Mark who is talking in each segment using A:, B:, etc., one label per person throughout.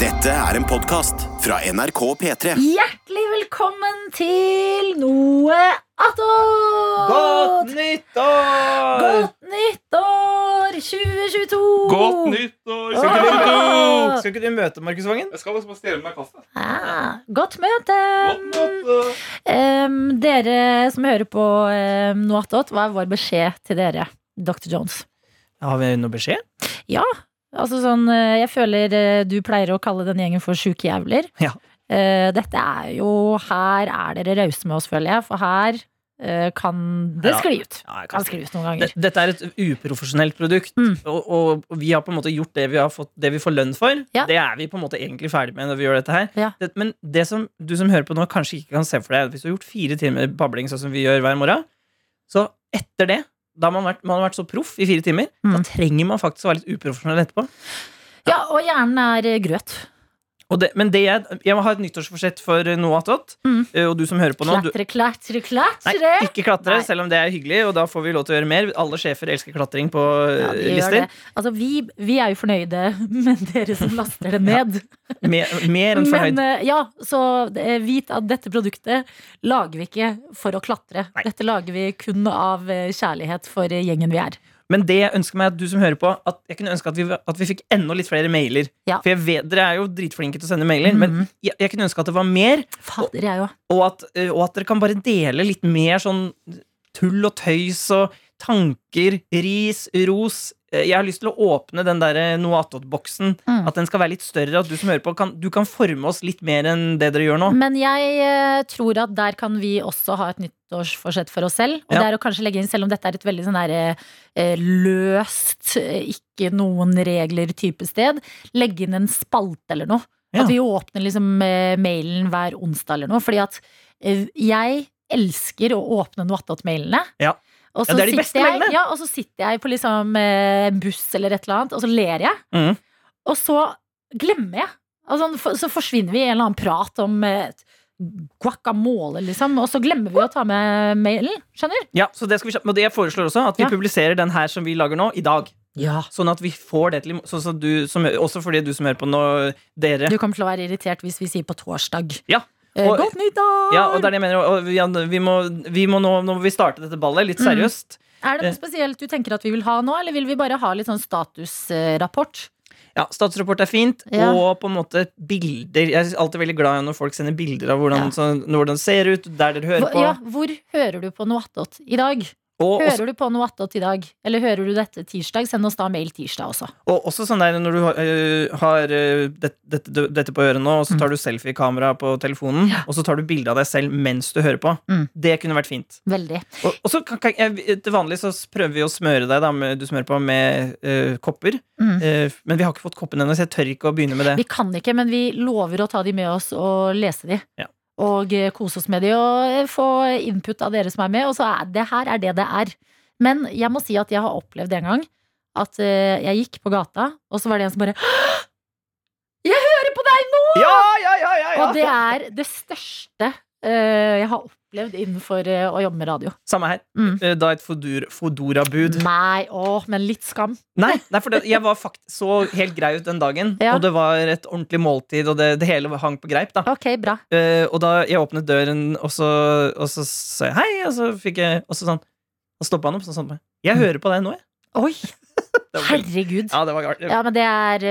A: Dette er en podkast fra NRK P3.
B: Hjertelig velkommen til noe attåt!
C: Godt nyttår!
B: Godt nyttår 2022!
D: Godt
B: Åh!
D: nyttår!
C: Skal ikke
D: Åh!
C: du- Skal ikke du møte Markus Vangen?
D: Jeg skal liksom bare stjele meg kaffe.
B: Ah, godt møte!
D: Godt møte!
B: Em, dere som hører på um, noe attåt, hva er vår beskjed til dere, Dr. Jones?
C: Har vi noe beskjed?
B: Altså sånn, eh, jeg føler eh, du pleier å kalle den gjengen for sjuke jævler.
C: Ja.
B: Eh, Dette er jo Her er dere rause med oss, føler jeg, for her eh, kan det
C: Ja.
B: skli ut.
C: Ja, jeg
B: Kan skli ut noen ganger.
C: Det- Dette er et uprofesjonelt produkt,
B: Mm.
C: og, og vi har på en måte gjort det vi, har fått, det vi får lønn for.
B: Ja.
C: Det er vi på en måte egentlig ferdig med når vi gjør dette her.
B: Ja.
C: Det, men det som du som hører på nå, kanskje ikke kan se for deg, er at hvis du har gjort fire timer babling sånn som vi gjør hver morgen, så etter det da har man vært, man har vært så proff i fire timer. Da
B: Mm.
C: trenger man faktisk å være litt uprofesjonell etterpå.
B: Ja, og hjernen er eh, grøt.
C: Og det, men det jeg, jeg må ha et nyttårsforsett for eh, noe attåt.
B: Mm.
C: Eh, Og du som hører på nå, du,
B: Klatre, klatre,
C: Nei,
B: klatre!
C: ikke klatre,
B: Nei.
C: selv om det er hyggelig, og da får vi lov til å gjøre mer. Alle sjefer elsker klatring på
B: Ja,
C: eh,
B: de gjør
C: lister.
B: det. Altså, vi, vi er jo fornøyde, men dere som laster det ned
C: Mer, mer enn fornøyd.
B: Men eh, ja, så eh, vit at dette produktet lager vi ikke for å klatre.
C: Nei.
B: Dette lager vi kun av eh, kjærlighet for eh, gjengen vi er.
C: Men det jeg ønsker meg at du som hører på, at jeg kunne ønske at vi, at vi fikk enda litt flere mailer.
B: Ja. Mhm.
C: For jeg vet, dere er jo dritflinke til å sende mailer, men jeg, jeg kunne ønske at det var mer,
B: Fader, jeg òg.
C: og at, eh, og at dere kan bare dele litt mer sånn tull og tøys og tanker, ris, ros. Eh, Jeg har lyst til å åpne den derre Noatot-boksen.
B: Mm.
C: At den skal være litt større. At du som hører på, kan, du kan forme oss litt mer enn det dere gjør nå.
B: Men jeg eh, tror at der kan vi også ha et nyttårsforsett for oss selv. Og
C: Ja.
B: det er å kanskje legge inn, selv om dette er et veldig sånn der, eh, eh, løst, eh, ikke noen regler-type sted, legge inn en spalte eller noe.
C: Ja.
B: At vi åpner liksom eh, mailen hver onsdag eller noe. Fordi at eh, jeg elsker å åpne noe attåt-mailene.
C: Ja.
B: Og
C: Ja,
B: så
C: det er de
B: sitter
C: beste
B: jeg-
C: mailene.
B: Ja, og så sitter jeg på liksom eh, en buss eller et eller annet, og så ler jeg.
C: Mhm.
B: Og så glemmer jeg. Altså, for- så forsvinner vi i en eller annen prat om eh, guacamole, liksom. Og så glemmer vi å ta med mailen. Skjønner?
C: Ja, så det skal vi kjapt- Og det jeg foreslår også at vi
B: Ja.
C: publiserer den her som vi lager nå, i dag.
B: Ja.
C: Sånn at vi får det til i mo- sånn som du, som, Også fordi du som hører på nå, dere.
B: Du kommer til å være irritert hvis vi sier på torsdag.
C: Ja.
B: Eh,
C: Og-
B: Godt nyttår!
C: Ja, og det er det jeg mener. og- Og vi, vi, må, vi må nå, nå må vi starte dette ballet litt
B: Mm.
C: seriøst.
B: Er det noe spesielt du tenker at vi vil ha nå, eller vil vi bare ha litt sånn statusrapport?
C: Ja, Statsrapport er fint,
B: Ja.
C: og på en måte bilder. Jeg er alltid veldig glad i når folk sender bilder av hvordan,
B: Ja.
C: sånn, hvordan det ser ut, der dere hører
B: Hvor,
C: på.
B: ja, hvor hører du på noe attåt i dag?
C: Og, også,
B: Hører du på noe attåt i dag? Eller hører du dette tirsdag? Send oss da mail tirsdag også.
C: og også sånn der når du har, øh, har øh, det, dette, dette på øret nå, og så tar du selfie-kamera på telefonen,
B: Mm. Ja.
C: og så tar du bilde av deg selv mens du hører på.
B: Mm.
C: Det kunne vært fint.
B: Veldig.
C: Og, og så kan, kan, jeg, Til vanlig så prøver vi å smøre deg da, med, du smører på med eh, kopper.
B: Mm.
C: Eh, men vi har ikke fått koppen ennå, så jeg tør ikke å begynne med det.
B: Vi kan ikke, men vi lover å ta de med oss og lese de.
C: Ja.
B: Og eh, kose oss med de og eh, få input av dere som er med. Og så er det her er det det er. Men jeg må si at jeg har opplevd en gang at eh, jeg gikk på gata, og så var det en som bare «Hå! Jeg hører på deg nå!
C: Ja, ja, ja, ja, ja.
B: Og det er det største eh, jeg har opplevd innenfor eh, å jobbe med radio.
C: Samme her.
B: Mm.
C: Eh, da et fodor, Fodora-bud.
B: Nei, åh, men litt skam.
C: Nei, nei, for det, jeg var fakt så helt grei ut den dagen,
B: Ja.
C: og det var et ordentlig måltid, og det, det hele hang på greip. da
B: Ok, bra.
C: Eh, Og da jeg åpnet døren, og så, og så sa jeg hei, og så fikk jeg Og så sånn Og stoppa han opp sånn, sånn på meg. Jeg hører på deg nå, jeg.
B: Oi,
C: Det var veldig-
B: herregud.
C: Ja, det var galt.
B: Mm. Ja, men Det er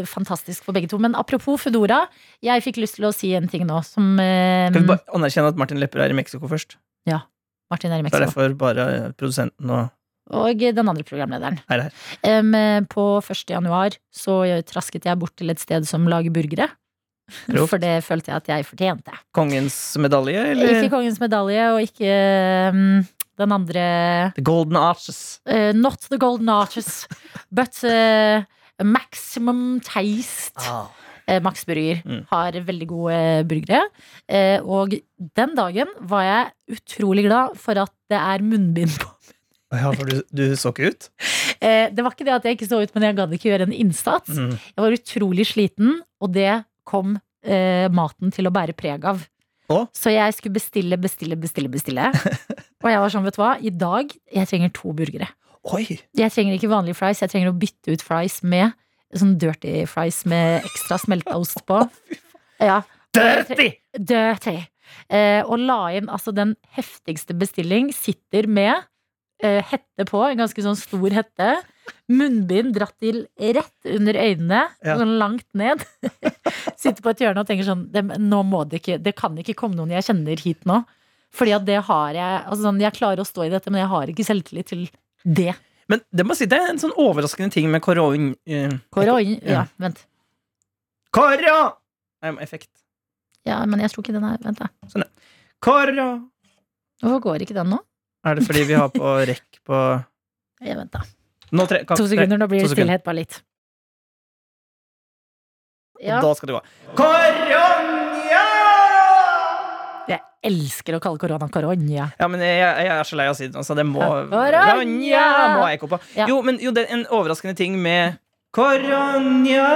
B: eh, fantastisk for begge to. Men apropos Foodora. Jeg fikk lyst til å si en ting nå som eh,
C: Skal vi bare anerkjenne at Martin Lepper er i Mexico først?
B: Martin er i
C: Det er
B: Mexico.
C: derfor bare produsenten og
B: Og den andre programlederen.
C: Er her.
B: Em, eh, på 1. januar så trasket jeg bort til et sted som lager burgere.
C: Proft.
B: For det følte jeg at jeg fortjente.
C: kongens medalje,
B: Ikke
C: eller?
B: Kongens medalje, og ikke em, den andre
C: The Golden Arches.
B: eh, Not the Golden Arches, but eh, Maximum Taste. eh, Max Burger
C: Ah. Mm.
B: har veldig gode burgere. Eh, og den dagen var jeg utrolig glad for at det er munnbind på.
C: Ja, for du, du så ikke ut.
B: Eh, det var ikke det at jeg ikke så ut, men jeg gadd ikke gjøre en innsats.
C: Mm.
B: Jeg var utrolig sliten, og det kom eh, maten til å bære preg av.
C: Å?
B: Så jeg skulle bestille, bestille, bestille, bestille. og jeg var sånn, vet du hva, i dag jeg trenger to burgere.
C: Oi!
B: Jeg trenger ikke vanlige fries, jeg trenger å bytte ut fries med sånn dirty fries med ekstra smelta ost på. Ja,
C: Dirty!
B: dirty! Eh, og la inn altså den heftigste bestilling. Sitter med eh, hette på, en ganske sånn stor hette. Munnbind dratt til rett under øynene,
C: Ja.
B: sånn langt ned. Sitter på et hjørne og tenker sånn det, Nå må det ikke Det kan ikke komme noen jeg kjenner hit nå. Fordi at det har jeg altså sånn, Jeg klarer å stå i dette, men jeg har ikke selvtillit til det.
C: Men det må jeg si, det er en sånn overraskende ting med koron... eh,
B: Kåre og
C: Ja.
B: Ja, vent.
C: Koro! Nei, men effekt.
B: Ja, men jeg tror ikke den her. Vent, da.
C: Koro!
B: Hvorfor går ikke den nå?
C: Er det fordi vi har på rekk på
B: Ja, vent da.
C: Nå tre, kast,
B: To sekunder, nå blir
C: to
B: det
C: sekunder.
B: stillhet bare litt. Ja,
C: Og da skal det gå. Koronja!
B: jeg elsker å kalle korona koronja.
C: Ja, men jeg, jeg er så lei av å si det nå, så det må Koronja!
B: Koronja!
C: Må ha ekko på.
B: Ja.
C: Jo, men jo, det er en overraskende ting med koronja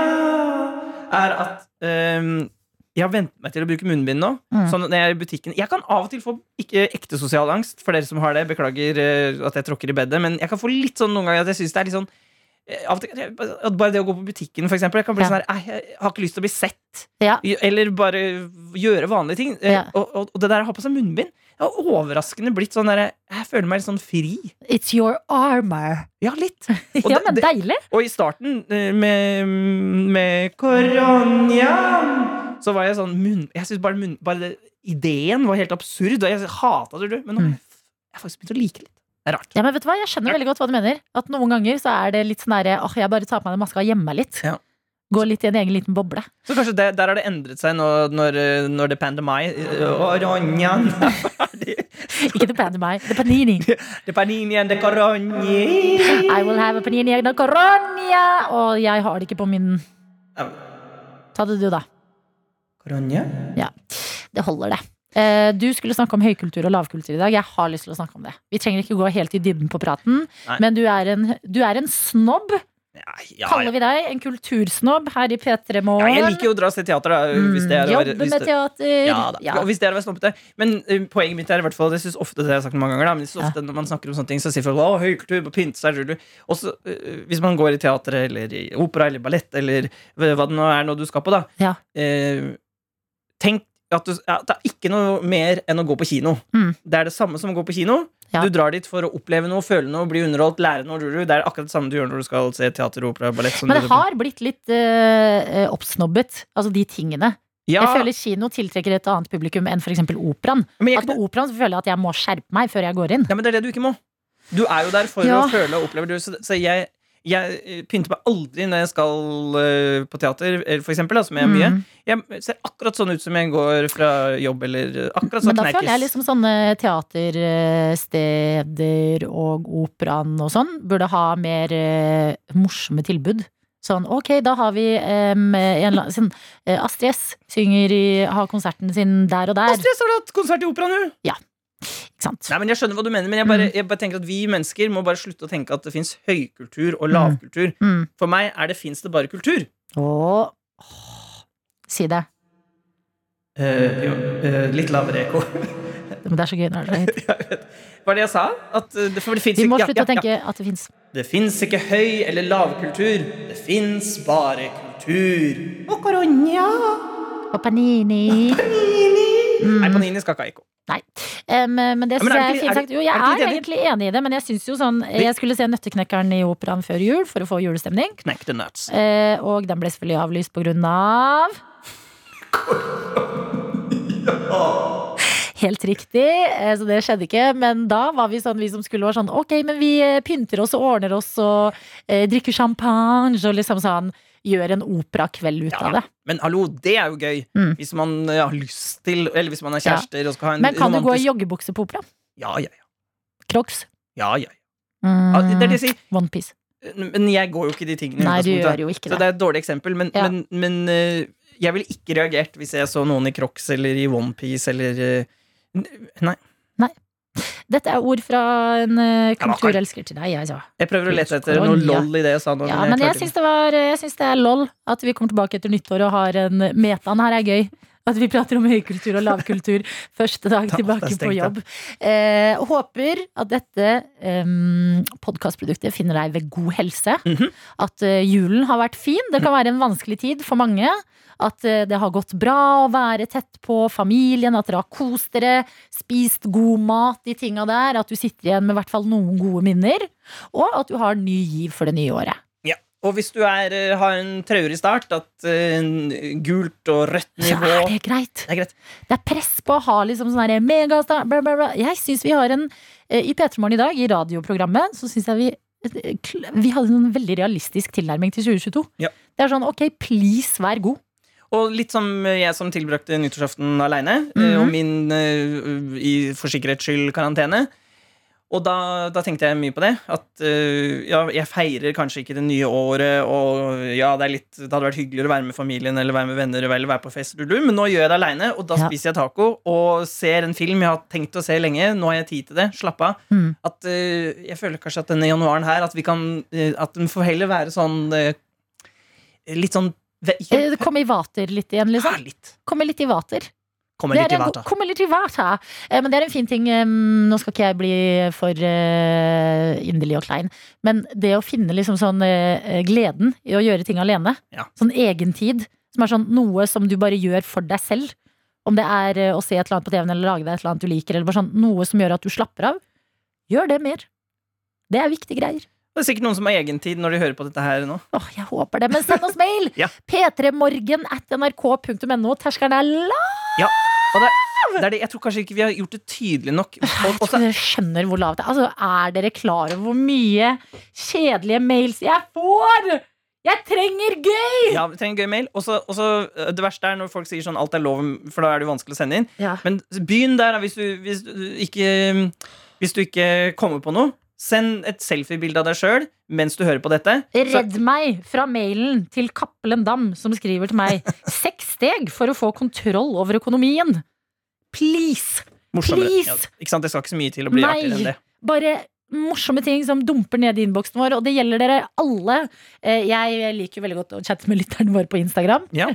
C: er at ehm, jeg har vent meg til å bruke munnbind nå.
B: Mm.
C: Sånn at når jeg er i butikken Jeg kan av og til få ikke ekte sosial angst, for dere som har det. Beklager eh, at jeg tråkker i bedet, men jeg kan få litt sånn noen ganger at jeg syns det er litt sånn eh, av og til, at Bare det å gå på butikken, for eksempel. Jeg kan bli
B: Ja.
C: sånn her "Ei, Jeg har ikke lyst til å bli sett.
B: Ja.
C: Eller bare gjøre vanlige ting. Eh,
B: Ja.
C: Og, og, og det der å ha på seg munnbind Jeg har overraskende blitt sånn derre Jeg føler meg litt sånn fri.
B: It's your armor.
C: Ja, litt. Og,
B: Ja,
C: det-
B: men
C: det-
B: deilig!
C: og i starten, eh, med, med koronjaen, så var jeg sånn munn... Jeg synes bare, munn, bare det, ideen var helt absurd, og jeg hata det, du. Men
B: Mm.
C: nå har jeg, f- jeg har faktisk begynt å like det litt. Det er rart.
B: Ja, men vet du hva? Jeg skjønner veldig godt hva du mener. At noen ganger så er det litt sånn derre åh, jeg bare tar på meg den maska og gjemmer meg litt.
C: Ja.
B: Gå litt i en egen liten boble.
C: Så kanskje det, der har det endret seg når, når, eh, når det pandemi Koronjaen er ferdig.
B: Ikke det panner meg. Det er panini.
C: Det paninien, det koronjaen.
B: I will have a panini egna koronja! Og jeg har det ikke på min Ta det du, da.
C: Koronja?
B: Det holder, det. Eh, Du skulle snakke om høykultur og lavkultur i dag. Jeg har lyst til å snakke om det. Vi trenger ikke gå helt i dybden på praten,
C: Nei.
B: men du er en, du er en snobb,
C: Ja, ja,
B: kaller
C: ja.
B: vi deg. En kultursnobb her i P3
C: ja,
B: Morgen.
C: jeg liker jo å dra og se teater, da. øh, Hvis det er, å være-
B: Mm. Jobbe
C: hvis
B: med
C: det-
B: teater.
C: Ja da.
B: Ja.
C: Og hvis dere var snobbete. Men eh, poenget mitt er i hvert fall Jeg synes ofte det har jeg sagt mange ganger da, Men jeg synes ofte når man snakker om sånne ting, så sier folk å, høykultur på pynte seg. lulu». Og så, eh, hvis man går i teater eller i opera eller ballett eller hva hva det nå er nå du skal på, da
B: Ja.
C: eh, Tenk at du, ja, det er ikke noe mer enn å gå på kino.
B: Mm.
C: Det er det samme som å gå på kino.
B: Ja.
C: Du drar dit for å oppleve noe, føle noe, bli underholdt, lære noe. lulu. Det er akkurat det samme du gjør når du skal se teater, opera, ballett. som
B: Men
C: du-
B: det har blitt litt eh, oppsnobbet, altså de tingene.
C: ja,
B: Jeg føler kino tiltrekker et annet publikum enn f.eks. operaen.
C: men jeg,
B: At på operaen så føler jeg at jeg må skjerpe meg før jeg går inn.
C: Ja, men det er det du ikke må. Du er jo der for
B: Ja.
C: å føle og oppleve. Du, så, så jeg, jeg eh, pynter meg aldri når jeg skal eh, på teater, eller for eksempel, da, som jeg er mye.
B: Mm.
C: Jeg ser akkurat sånn ut som jeg går fra jobb, eller eh, akkurat
B: Men
C: sånn
B: da føler jeg
C: knerkes.
B: liksom sånne teatersteder og operaen og sånn burde ha mer eh, morsomme tilbud. Sånn, ok, da har vi em, en, la- sånn, eh, Astrid S synger i, har konserten sin der og der.
C: Astrid, så har du hatt konsert i operaen, du!
B: Ikke sant?
C: Nei, men Jeg skjønner hva du mener, men jeg
B: Mm.
C: bare, jeg bare tenker at vi mennesker må bare slutte å tenke at det fins høykultur og lavkultur.
B: Mm.
C: For meg er det fins det bare kultur.
B: Åh, si det.
C: Eh, jo, eh, litt lavere ekko.
B: Men det er så gøy når det er så høyt.
C: Hva er det jeg sa? At, eh, det, for det finnes
B: Vi må
C: ikke- ja,
B: slutte
C: ja,
B: å
C: ja.
B: tenke at det fins.
C: Det fins ikke høy- eller lavkultur. Det fins bare kultur. Og koronja
B: Og panini.
C: Nei, Panini skal ikke ha ekko.
B: Nei. Em, men det
C: Ja,
B: syns jeg
C: men er det
B: er
C: ikke-
B: fint
C: er
B: sagt.
C: det-
B: Jo, jeg
C: er det
B: er
C: ikke enig?
B: egentlig enig i det, men jeg syns jo sånn Jeg skulle se Nøtteknekkeren i operaen før jul for å få julestemning.
C: Knekk the nuts.
B: Eh, og den ble selvfølgelig avlyst på grunn av Helt riktig, eh, så det skjedde ikke. Men da var vi sånn, vi som skulle var sånn Ok, men vi eh, pynter oss og ordner oss og eh, drikker champagne og liksom sånn Gjør en operakveld ut
C: Ja,
B: av det.
C: Men hallo, det er jo gøy.
B: Mm.
C: Hvis man ja, har lyst til, eller hvis man er kjærester og skal ha en
B: Men kan du gå i
C: romantisk
B: joggebukse på opera?
C: Ja, ja, ja.
B: Crocs?
C: ja, ja.
B: Mm,
C: ja det er det jeg sier.
B: Onepiece.
C: Men jeg går jo ikke de tingene. i
B: Nei, du
C: utgangspunktet.
B: gjør jo ikke
C: sånn
B: det.
C: Så det er et dårlig eksempel, men,
B: Ja.
C: men, men eh, jeg ville ikke reagert hvis jeg så noen i Crocs eller i OnePiece eller eh, n- Nei.
B: Dette er ord fra en eh,
C: Ja, hva kan-
B: kulturelsker til deg, altså.
C: Jeg prøver å lete etter noe
B: Koronja.
C: lol i det jeg sa nå.
B: Ja, men jeg
C: klarte
B: syns det, var- jeg syns det er lol at vi kommer tilbake etter nyttår og har en Metaen her er gøy. At vi prater om høykultur og lavkultur første dag
C: Da- da
B: tilbake på
C: stengte jeg.
B: jobb. Eh, håper at dette um, podkastproduktet finner deg ved god helse.
C: Mhm.
B: At eh, julen har vært fin. Det kan være en vanskelig tid for mange. At eh, det har gått bra å være tett på familien, at dere har kost dere, spist god mat, de tinga der. At du sitter igjen med i hvert fall noen gode minner. Og at du har ny giv for det nye året.
C: Og hvis du er, eh, har en traurig start, at eh, en gult og rødt
B: Så er
C: nivå
B: det greit.
C: Det er greit.
B: Det er press på å ha liksom sånn her megastart, bla, bla, bla. Jeg syns vi har en eh, I P3 Morgen i dag, i radioprogrammet, så syns jeg vi eh, kl- vi hadde en veldig realistisk tilnærming til 2022.
C: Ja.
B: Det er sånn ok, please, vær god.
C: Og litt som eh, jeg som tilbrakte nyttårsaften aleine,
B: Mhm.
C: og min eh, i for sikkerhets skyld karantene. Og da, da tenkte jeg mye på det. At eh, ja, jeg feirer kanskje ikke det nye året, og ja, det, er litt, det hadde vært hyggeligere å være med familien eller være med venner, eller være på fest, lulu, men nå gjør jeg det aleine, og da
B: Ja.
C: spiser jeg taco og ser en film jeg har tenkt å se lenge. Nå har jeg tid til det. Slapp av.
B: Mm.
C: at eh, jeg føler kanskje at denne januaren her At vi kan eh, At den får heller være sånn eh, Litt sånn ve- ikke,
B: Eh, Kom i vater litt igjen,
C: Ja,
B: liksom.
C: litt
B: Kom litt i vater.
C: Kommer litt
B: Det er en
C: i hvert
B: god-
C: da
B: Kommer litt i hvert, ja. Eh, Men det er en fin ting. eh, Nå skal ikke jeg bli for eh, inderlig og klein, men det å finne liksom sånn eh, gleden i å gjøre ting alene,
C: Ja.
B: sånn egentid, som er sånn noe som du bare gjør for deg selv, om det er eh, å se et eller annet på TV-en eller lage deg et eller annet du liker, eller bare sånn noe som gjør at du slapper av, gjør det mer. Det er viktige greier.
C: Det er sikkert noen som har egentid når de hører på dette her nå
B: Åh, jeg håper det. Men send oss mail!
C: Ja.
B: p3morgen at nrk.no. Terskelen er lav!
C: Og det, det er det, jeg tror kanskje ikke vi har gjort det tydelig nok
B: Jeg
C: og,
B: tror
C: og så,
B: dere skjønner hvor lavt det er. Altså, er dere klar over hvor mye kjedelige mails jeg får?! Jeg trenger gøy!
C: Ja, vi trenger gøy mail Og så og så, eh, det verste er når folk sier sånn Alt er lov, for da er det jo vanskelig å sende inn Men begynn der, da, hvis du, hvis du ikke Hvis du ikke kommer på noe Send et selfie-bilde av deg selv Mens du hører på dette Så-
B: Redd meg fra mailen til Cappelen Dam, som skriver til meg seks steg for å få kontroll over økonomien. Please!
C: Morsommere.
B: Please!
C: Ja, ikke sant? Det skal ikke så mye til å bli
B: Nei.
C: artigere enn det.
B: bare morsomme ting som dumper ned i innboksen vår, og det gjelder dere alle. Eh, Jeg liker jo veldig godt å chatte med lytterne våre på Instagram.
C: Ja.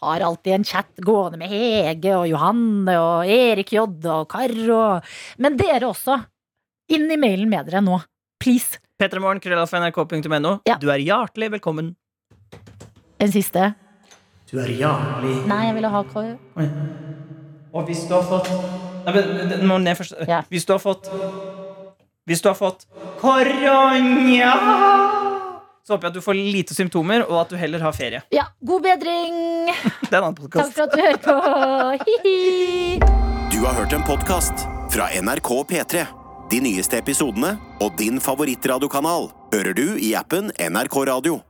B: Har alltid en chat gående med Hege og Johanne og Erik J og Kar og Men dere også. Inn i mailen med dere nå. Please.
C: Petremorgen, krøllalfa.nrk.no.
B: Ja.
C: Du er hjertelig velkommen.
B: En siste.
C: Du er hjertelig
B: Nei, jeg ville ha K.
C: Og hvis du har fått Nei, men den må ned først.
B: Ja.
C: Hvis du har fått Hvis du har fått korona, så håper jeg at du får lite symptomer, og at du heller har ferie.
B: Ja, god bedring!
C: Det er en annen
B: Takk
C: podcast
B: for at du hører på. Hi-hi!
A: Du har hørt en podcast fra NRK P3. De nyeste episodene og din favorittradiokanal hører du i appen NRK Radio.